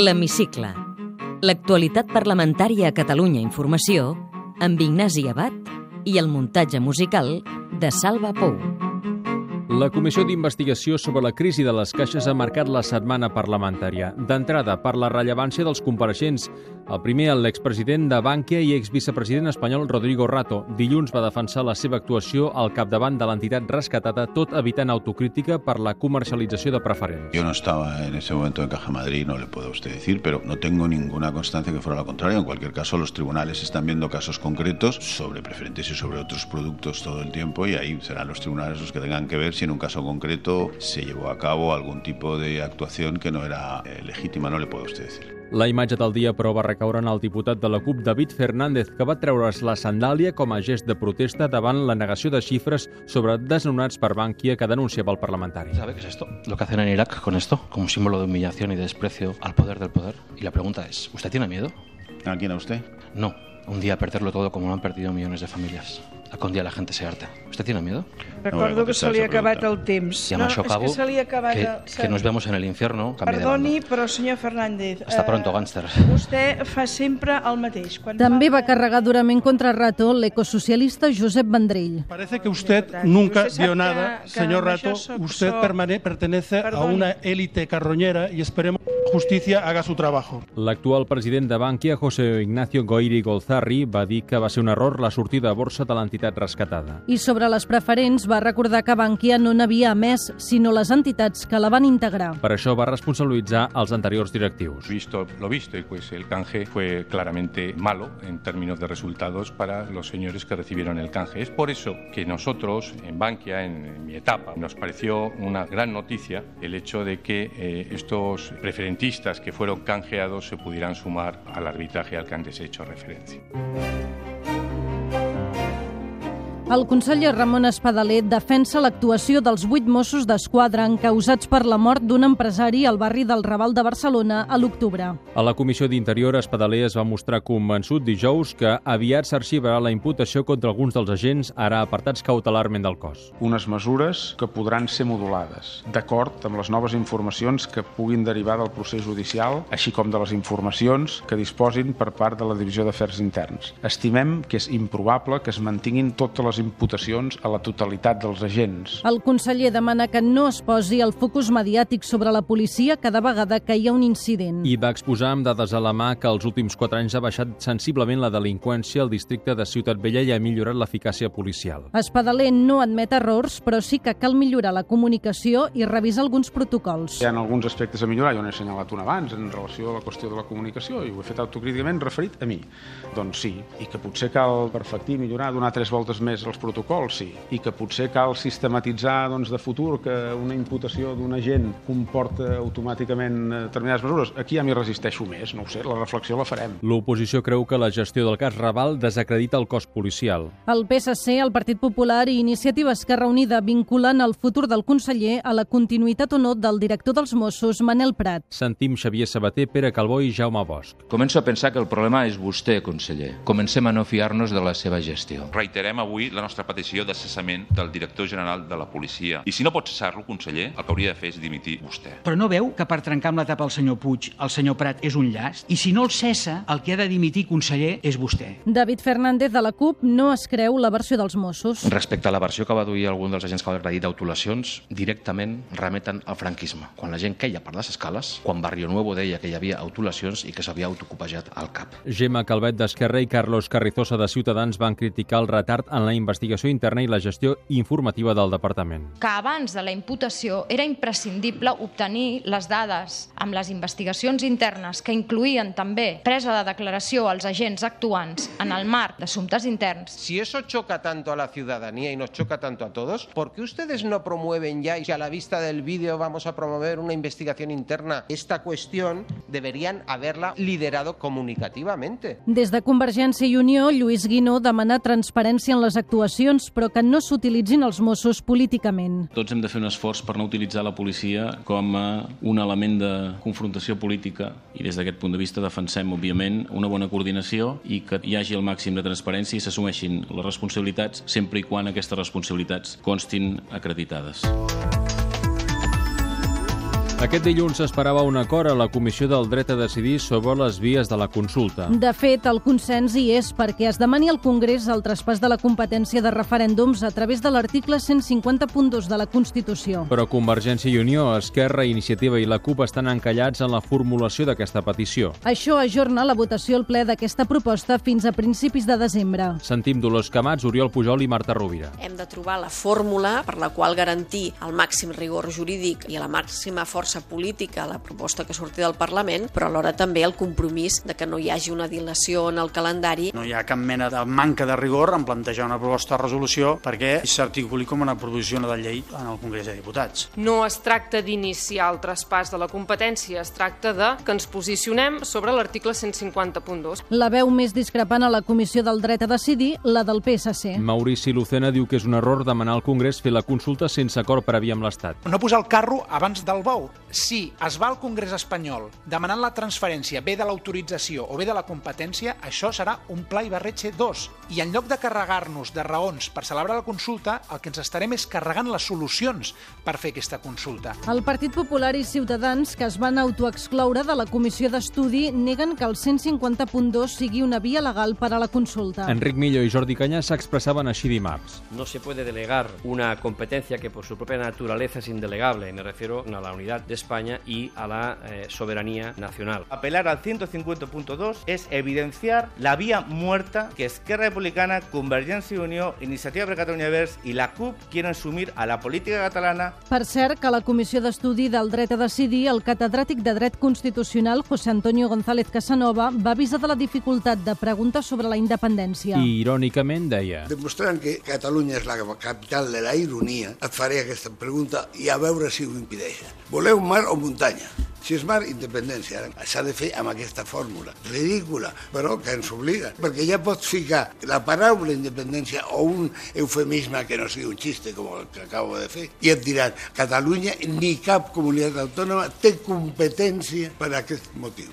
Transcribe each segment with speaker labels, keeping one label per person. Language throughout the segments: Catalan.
Speaker 1: L'Hemicicle. L'actualitat parlamentària a Catalunya Informació amb Ignasi Abad i el muntatge musical de Salva Pou.
Speaker 2: La Comissió d'Investigació sobre la crisi de les caixes ha marcat la setmana parlamentària. D'entrada, per la rellevància dels compareixents. El primer, l'expresident de Bànquia i exvicepresident espanyol Rodrigo Rato. Dilluns va defensar la seva actuació al capdavant de l'entitat rescatada, tot evitant autocrítica per la comercialització de preferents.
Speaker 3: Yo no estaba en ese momento en Caja Madrid, no le puedo a usted decir, pero no tengo ninguna constancia que fuera lo contrario. En cualquier caso, los tribunales están viendo casos concretos sobre preferentes y sobre otros productos todo el tiempo y ahí serán los tribunales los que tengan que ver si en un caso concreto se llevó a cabo algún tipo de actuación que no era eh, legítima, no le puedo a usted decir.
Speaker 2: La imatge del dia, però, va recaure en el diputat de la CUP, David Fernández, que va treure's la sandàlia com a gest de protesta davant la negació de xifres sobre desnonats per Bànquia que denunciava el parlamentari.
Speaker 4: ¿Sabe qué es esto? Lo que hacen en Irak con esto, como un símbolo de humillación y desprecio al poder del poder. Y la pregunta es, ¿usted tiene miedo?
Speaker 3: ¿A quién a usted?
Speaker 4: No. Un día perderlo todo como lo han perdido millones de familias. A que un día la gente se harta. ¿Usted tiene
Speaker 3: No
Speaker 4: miedo?
Speaker 3: voy a
Speaker 5: Recordo que se li
Speaker 3: contestar
Speaker 5: ha
Speaker 3: esa
Speaker 5: acabat el
Speaker 3: pregunta.
Speaker 5: temps.
Speaker 4: Y amb això acabo,
Speaker 5: és que se li ha acabat...
Speaker 4: que,
Speaker 5: el...
Speaker 4: que nos vemos en el infierno. Cambie de banda.
Speaker 5: Perdoni, però senyor Fernández...
Speaker 4: Hasta
Speaker 5: eh,
Speaker 4: pronto, gánster.
Speaker 5: Vostè fa sempre el mateix. Quan
Speaker 6: També
Speaker 5: parla-
Speaker 6: va carregar durament contra Rato l'ecosocialista Josep Vendrell.
Speaker 7: Parece que usted
Speaker 5: Gracias.
Speaker 7: nunca
Speaker 5: Usted sabe
Speaker 7: vio
Speaker 5: que-
Speaker 7: nada,
Speaker 5: que
Speaker 7: señor
Speaker 5: además yo
Speaker 7: Rato.
Speaker 5: so-
Speaker 7: Usted
Speaker 5: so-
Speaker 7: permane- pertenece a
Speaker 5: Perdón.
Speaker 7: una élite carroñera y esperemos que justicia haga su trabajo.
Speaker 2: L'actual president de Bànquia, José Ignacio Goiri Golzarri, va dir que va ser un error la sortida a borsa de l'entitat rescatada.
Speaker 6: I sobre les preferents va recordar que Bankia no n'havia emès, sinó les entitats que la van integrar.
Speaker 2: Per això va responsabilitzar els anteriors directius.
Speaker 8: Visto lo visto, y pues el canje fue claramente malo en términos de resultados para los señores que recibieron el canje. Es por eso que nosotros, en Bankia, en, en mi etapa, nos pareció una gran noticia el hecho de que eh, estos preferentistas que fueron canjeados se pudieran sumar al arbitraje al que antes he hecho referencia.
Speaker 6: El conseller Ramon Espadaler defensa l'actuació dels vuit Mossos d'Esquadra encausats per la mort d'un empresari al barri del Raval de Barcelona a l'octubre.
Speaker 2: A la Comissió d'Interior, Espadaler es va mostrar convençut dijous que aviat s'arxivarà la imputació contra alguns dels agents ara apartats cautelarment del cos.
Speaker 9: unes mesures que podran ser modulades, d'acord amb les noves informacions que puguin derivar del procés judicial, així com de les informacions que disposin per part de la Divisió d'Afers Interns. Estimem que és improbable que es mantinguin totes les imputacions a la totalitat dels agents.
Speaker 6: El conseller demana que no es posi el focus mediàtic sobre la policia cada vegada que hi ha un incident.
Speaker 2: I va exposar amb dades a la mà que els últims quatre anys ha baixat sensiblement la delinqüència al districte de Ciutat Vella i ha millorat l'eficàcia policial.
Speaker 6: Espadaler no admet errors, però sí que cal millorar la comunicació i revisar alguns protocols.
Speaker 9: Hi ha alguns aspectes a millorar, jo n'he assenyalat un abans, en relació a la qüestió de la comunicació, i ho he fet autocríticament referit a mi. Doncs sí, i que potser cal perfectir, millorar, donar tres voltes més als protocols, sí. I que potser cal sistematitzar doncs, de futur que una imputació d'un agent comporta automàticament eh, determinades mesures. Aquí ja m'hi resisteixo més, no ho sé, la reflexió la farem.
Speaker 2: L'oposició creu que la gestió del cas Raval desacredita el cos policial.
Speaker 6: El PSC, el Partit Popular i Iniciativa Esquerra Unida vinculen el futur del conseller a la continuïtat o no del director dels Mossos, Manel Prat.
Speaker 2: Sentim Xavier Sabater, Pere Calbó i Jaume Bosch.
Speaker 10: Començo a pensar que el problema és vostè, conseller. Comencem a no fiar-nos de la seva gestió.
Speaker 11: Reiterem avui la nostra petició de cessament del director general de la policia. I si no pot cessar-lo, conseller, el que hauria de fer és dimitir vostè.
Speaker 12: Però no veu que per trencar amb la tapa el senyor Puig, el senyor Prat és un llast? I si no el cessa, el que ha de dimitir, conseller, és vostè.
Speaker 6: David Fernández de la CUP no es creu la versió dels Mossos.
Speaker 4: Respecte a la versió que va duir algun dels agents que va acreditar d'autolacions, directament remeten al franquisme, quan la gent queia per les escales, quan Barrio Nuevo deia que hi havia autolacions i que s'havia autocopejat al cap.
Speaker 2: Gemma Calvet d'Esquerra i Carlos Carrizosa de Ciutadans van criticar el retard en la investigació interna i la gestió informativa del departament.
Speaker 8: que abans de la imputació era imprescindible obtenir les dades amb les investigacions internes que incluïen també presa de declaració als agents actuants en el marc d'assumptes interns.
Speaker 12: Si eso choca tanto a la ciudadanía y nos choca tanto a todos, ¿por qué ustedes no promueven ya, y si a la vista del vídeo vamos a promover una investigación interna, esta cuestión deberían haberla liderado comunicativamente?
Speaker 6: Des de Convergència i Unió, Lluís Guinó demana transparència en les actuacions, però que no s'utilitzin els Mossos políticament.
Speaker 8: Tots hem de fer un esforç per no utilitzar la policia com a un element de confrontació política i des d'aquest punt de vista defensem, òbviament, una bona coordinació i que hi hagi el màxim de transparència i s'assumeixin les responsabilitats sempre i quan aquestes responsabilitats constin acreditades.
Speaker 2: Aquest dilluns s'esperava un acord a la Comissió del Dret a Decidir sobre les vies de la consulta.
Speaker 6: De fet, el consens hi és perquè es demani al Congrés el traspàs de la competència de referèndums a través de l'article 150.2 de la Constitució.
Speaker 2: Però Convergència i Unió, Esquerra, Iniciativa i la CUP estan encallats en la formulació d'aquesta petició.
Speaker 6: Això ajorna la votació al ple d'aquesta proposta fins a principis de desembre.
Speaker 2: Sentim Dolors Camats, Oriol Pujol i Marta Rovira.
Speaker 13: Hem de trobar la fórmula per la qual garantir el màxim rigor jurídic i la màxima força política a la proposta que surti del Parlament, però alhora també el compromís de que no hi hagi una dilació en el calendari.
Speaker 14: No hi ha cap mena de manca de rigor en plantejar una proposta de resolució perquè s'articuli com una proposició de llei en el Congrés de Diputats.
Speaker 15: No es tracta d'iniciar el traspàs de la competència, es tracta de que ens posicionem sobre l'article 150.2.
Speaker 6: La veu més discrepant a la Comissió del Dret a Decidir, la del PSC.
Speaker 2: Maurici Lucena diu que és un error demanar al Congrés fer la consulta sense acord previ amb l'Estat.
Speaker 16: No posar el carro abans del bou. Si es va al Congrés espanyol demanant la transferència bé de l'autorització o bé de la competència, això serà un pla Ibarretxe 2. I en lloc de carregar-nos de raons per celebrar la consulta, el que ens estarem és carregant les solucions per fer aquesta consulta.
Speaker 6: El Partit Popular i Ciutadans, que es van autoexcloure de la comissió d'estudi, neguen que el 150.2 sigui una via legal per a la consulta.
Speaker 2: Enric Millo i Jordi Canyà s'expressaven així dimarts.
Speaker 17: No se puede delegar una competencia que por su propia naturaleza es indelegable. Me refiero a la unidad de España y a la eh, soberanía nacional.
Speaker 18: Apelar al 150.2 es evidenciar la vía muerta que Esquerra Republicana, Convergència i Unió, Iniciativa per Catalunya Verds i la CUP quieren sumir a la política catalana.
Speaker 6: Per cert, que a la Comissió d'Estudi del Dret a Decidir, el catedràtic de Dret Constitucional, José Antonio González Casanova, va avisar de la dificultat de preguntes sobre la independència.
Speaker 2: I, irònicament, deia...
Speaker 19: Demostrant que Catalunya és la capital de la ironia, et faré aquesta pregunta i a veure si ho impedeixen. Voleu mar o muntanya? Si és mar, independència. S'ha de fer amb aquesta fórmula. Ridícula, però que ens obliga. Perquè ja pots ficar la paraula independència o un eufemisme que no sigui un xiste, com el que acabo de fer, i et diran Catalunya ni cap comunitat autònoma té competència per a aquest motiu.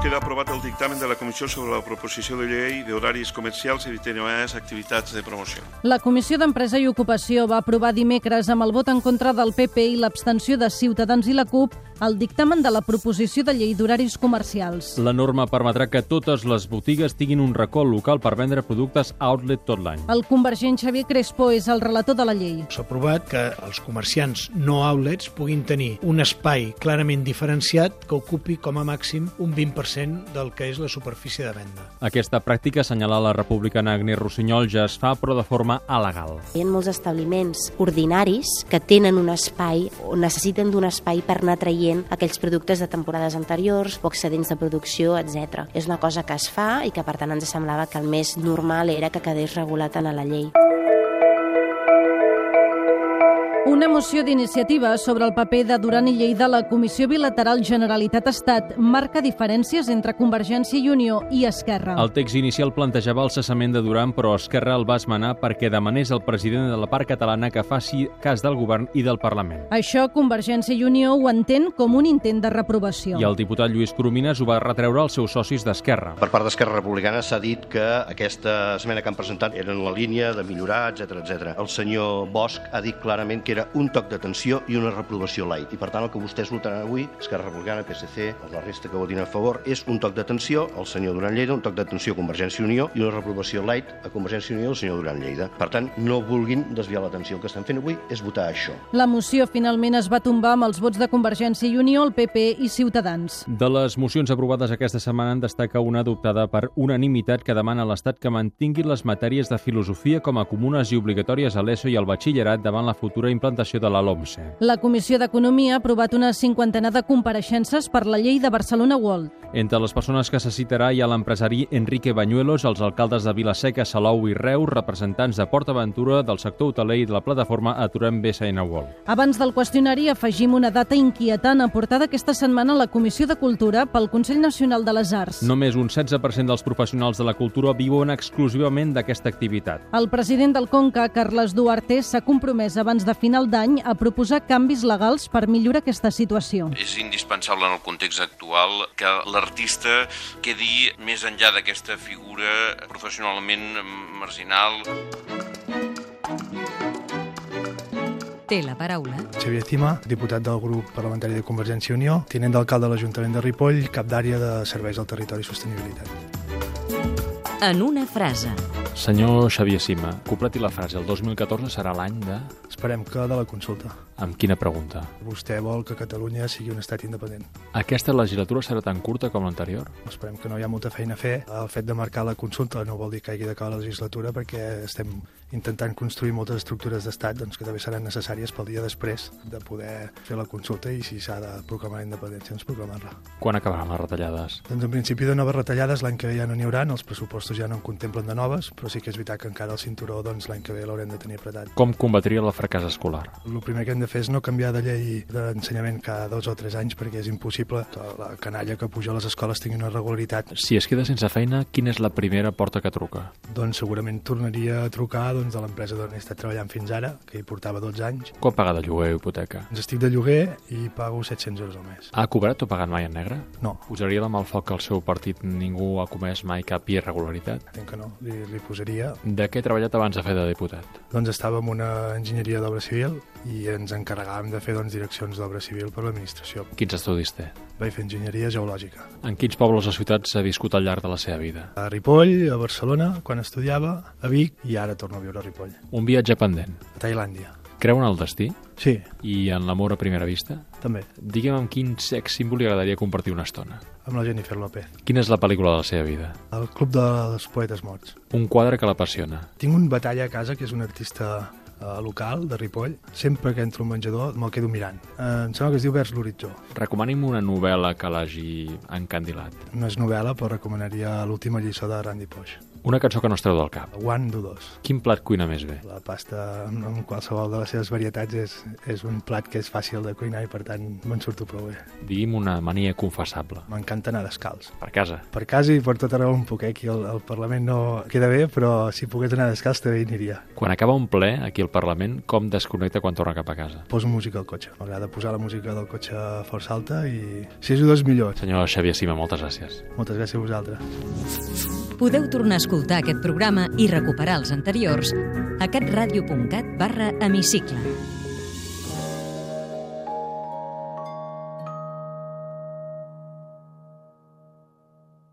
Speaker 20: Queda aprovat el dictamen de la Comissió sobre la proposició de llei d'horaris comercials i determinades activitats de promoció.
Speaker 6: La Comissió d'Empresa i Ocupació va aprovar dimecres amb el vot en contra del PP i l'abstenció de Ciutadans i la CUP el dictamen de la proposició de llei d'horaris comercials.
Speaker 2: La norma permetrà que totes les botigues tinguin un racol local per vendre productes outlet tot l'any.
Speaker 6: El convergent Xavier Crespo és el relator de la llei.
Speaker 7: S'ha aprovat que els comerciants no outlets puguin tenir un espai clarament diferenciat que ocupi com a màxim un 20% 20% del que és la superfície de venda.
Speaker 2: Aquesta pràctica, assenyala la republicana Agnès Rossinyol, ja es fa, però de forma alegal.
Speaker 21: Hi ha molts establiments ordinaris que tenen un espai o necessiten d'un espai per anar traient aquells productes de temporades anteriors, pocs sedents de producció, etc. És una cosa que es fa i que, per tant, ens semblava que el més normal era que quedés regulat en la llei.
Speaker 6: Una moció d'iniciativa sobre el paper de Duran i Lleida a la Comissió Bilateral Generalitat-Estat marca diferències entre Convergència i Unió i Esquerra.
Speaker 2: El text inicial plantejava el cessament de Duran, però Esquerra el va esmenar perquè demanés al president de la part catalana que faci cas del govern i del Parlament.
Speaker 6: Això Convergència i Unió ho entén com un intent de reprovació.
Speaker 2: I el diputat Lluís Coromines ho va retreure als seus socis d'Esquerra.
Speaker 22: Per part d'Esquerra Republicana s'ha dit que aquesta esmena que han presentat era en la línia de millorar, etc etc. El senyor Bosch ha dit clarament que era un toc d'atenció i una reprovació light. I per tant, el que vostès votaran avui, Esquerra Republicana, PSC, la resta que votin a favor, és un toc d'atenció al senyor Duran Lleida, un toc d'atenció a Convergència i Unió i una reprovació light a Convergència i Unió al senyor Duran Lleida. Per tant, no vulguin desviar l'atenció. El que estan fent avui és votar això.
Speaker 6: La moció finalment es va tombar amb els vots de Convergència i Unió, el PP i Ciutadans.
Speaker 2: De les mocions aprovades aquesta setmana en destaca una adoptada per unanimitat que demana a l'Estat que mantingui les matèries de filosofia com a comunes i obligatòries a l'ESO i al batxillerat davant la futura implantació de la LOMSE.
Speaker 6: La Comissió d'Economia ha aprovat una cinquantena de compareixences per la llei de Barcelona World.
Speaker 2: Entre les persones que se citarà hi ha l'empresari Enrique Bañuelos, els alcaldes de Vilaseca, Salou i Reus, representants de Port Aventura, del sector hoteler i de la plataforma Aturem BSN World.
Speaker 6: Abans del qüestionari afegim una data inquietant aportada aquesta setmana a la Comissió de Cultura pel Consell Nacional de les Arts.
Speaker 2: Només un 16% dels professionals de la cultura viuen exclusivament d'aquesta activitat.
Speaker 6: El president del Conca, Carles Duarte, s'ha compromès abans de final d'any a proposar canvis legals per millorar aquesta situació.
Speaker 23: És indispensable en el context actual que l'artista quedi més enllà d'aquesta figura professionalment marginal.
Speaker 1: té la paraula
Speaker 9: Xavier Estima, diputat del grup parlamentari de Convergència i Unió, tinent d'alcalde de l'Ajuntament de Ripoll, cap d'àrea de serveis al territori i sostenibilitat.
Speaker 1: en una frase.
Speaker 2: Senyor Xavier Sima, completi la frase. El 2014 serà l'any de...
Speaker 9: Esperem que de la consulta.
Speaker 2: Amb quina pregunta?
Speaker 9: Vostè vol que Catalunya sigui un estat independent. Doncs
Speaker 2: Aquesta legislatura serà tan curta com l'anterior?
Speaker 9: Esperem que no hi ha molta feina a fer. El fet de marcar la consulta no vol dir que hagi d'acabar la legislatura perquè estem intentant construir moltes estructures d'estat doncs, que també seran necessàries pel dia després de poder fer la consulta i si s'ha de proclamar la independència, doncs proclamar-la.
Speaker 2: Quan acabaran les retallades?
Speaker 9: Doncs en principi de noves retallades l'any que ve ja no n'hi haurà, els pressupostos ja no en contemplen de noves, però sí que és veritat que encara el cinturó doncs, l'any que ve l'haurem de tenir apretat.
Speaker 2: Com combatria el fracàs escolar?
Speaker 9: El primer que hem de fer és no canviar de llei d'ensenyament cada dos o tres anys perquè és impossible que la canalla que puja a les escoles tingui una regularitat.
Speaker 2: Si es queda sense feina, quina és la primera porta que truca?
Speaker 9: Doncs segurament tornaria a trucar doncs, a l'empresa d'on he estat treballant fins ara, que hi portava 12 anys.
Speaker 2: Quan pagar de lloguer o hipoteca?
Speaker 9: Doncs estic de lloguer i pago 700 euros al mes.
Speaker 2: Ha cobrat o pagat mai en negre?
Speaker 9: No.
Speaker 2: Usaria la mà al foc que el seu partit ningú ha comès mai cap irregularitat?
Speaker 9: Entenc que no, li, li posaria.
Speaker 2: De què he treballat abans de fer de diputat?
Speaker 9: Doncs estàvem en una enginyeria d'obra civil i ens encarregàvem de fer doncs, direccions d'obra civil per l'administració.
Speaker 2: Quins estudis té?
Speaker 9: Vaig fer enginyeria geològica.
Speaker 2: En quins pobles o ciutats ha viscut al llarg de la seva vida?
Speaker 9: A Ripoll, a Barcelona, quan estudiava, a Vic i ara torno a viure a Ripoll.
Speaker 2: Un viatge pendent.
Speaker 9: A Tailàndia.
Speaker 2: Creu en el destí?
Speaker 9: Sí.
Speaker 2: I en l'amor a primera vista?
Speaker 9: També.
Speaker 2: Digue'm amb quin sex símbol li agradaria compartir una estona.
Speaker 9: Amb la Jennifer López.
Speaker 2: Quina és la pel·lícula de la seva vida?
Speaker 9: El Club dels Poetes Morts.
Speaker 2: Un quadre que l'apassiona.
Speaker 9: Tinc un batalla a casa que és un artista eh, local de Ripoll. Sempre que entro al menjador me'l quedo mirant. Eh, em sembla que es diu Vers l'horitzó.
Speaker 2: Recomani'm una novel·la que l'hagi encandilat.
Speaker 9: No és novel·la, però recomanaria l'última lliçó de Randy Poix.
Speaker 2: Una cançó que no es treu del cap.
Speaker 9: One do dos.
Speaker 2: Quin plat cuina més bé?
Speaker 9: La pasta amb- amb qualsevol de les seves varietats és, és un plat que és fàcil de cuinar i per tant me'n surto prou bé.
Speaker 2: Digui'm una mania confessable.
Speaker 9: M'encanta anar descalç.
Speaker 2: Per casa.
Speaker 9: Per casa i per tot arreu un poc, eh? aquí al, al Parlament no queda bé, però si pogués anar descalç també hi aniria.
Speaker 2: Quan acaba un ple aquí al Parlament, com desconnecta quan torna cap a casa?
Speaker 9: Poso música al cotxe. M'agrada posar la música del cotxe força alta i si és un dels millors.
Speaker 2: Senyor Xavier Sima, moltes gràcies.
Speaker 9: Moltes gràcies a vosaltres.
Speaker 1: Podeu tornar a escoltar aquest programa i recuperar els anteriors a catradio.cat barra hemicicle.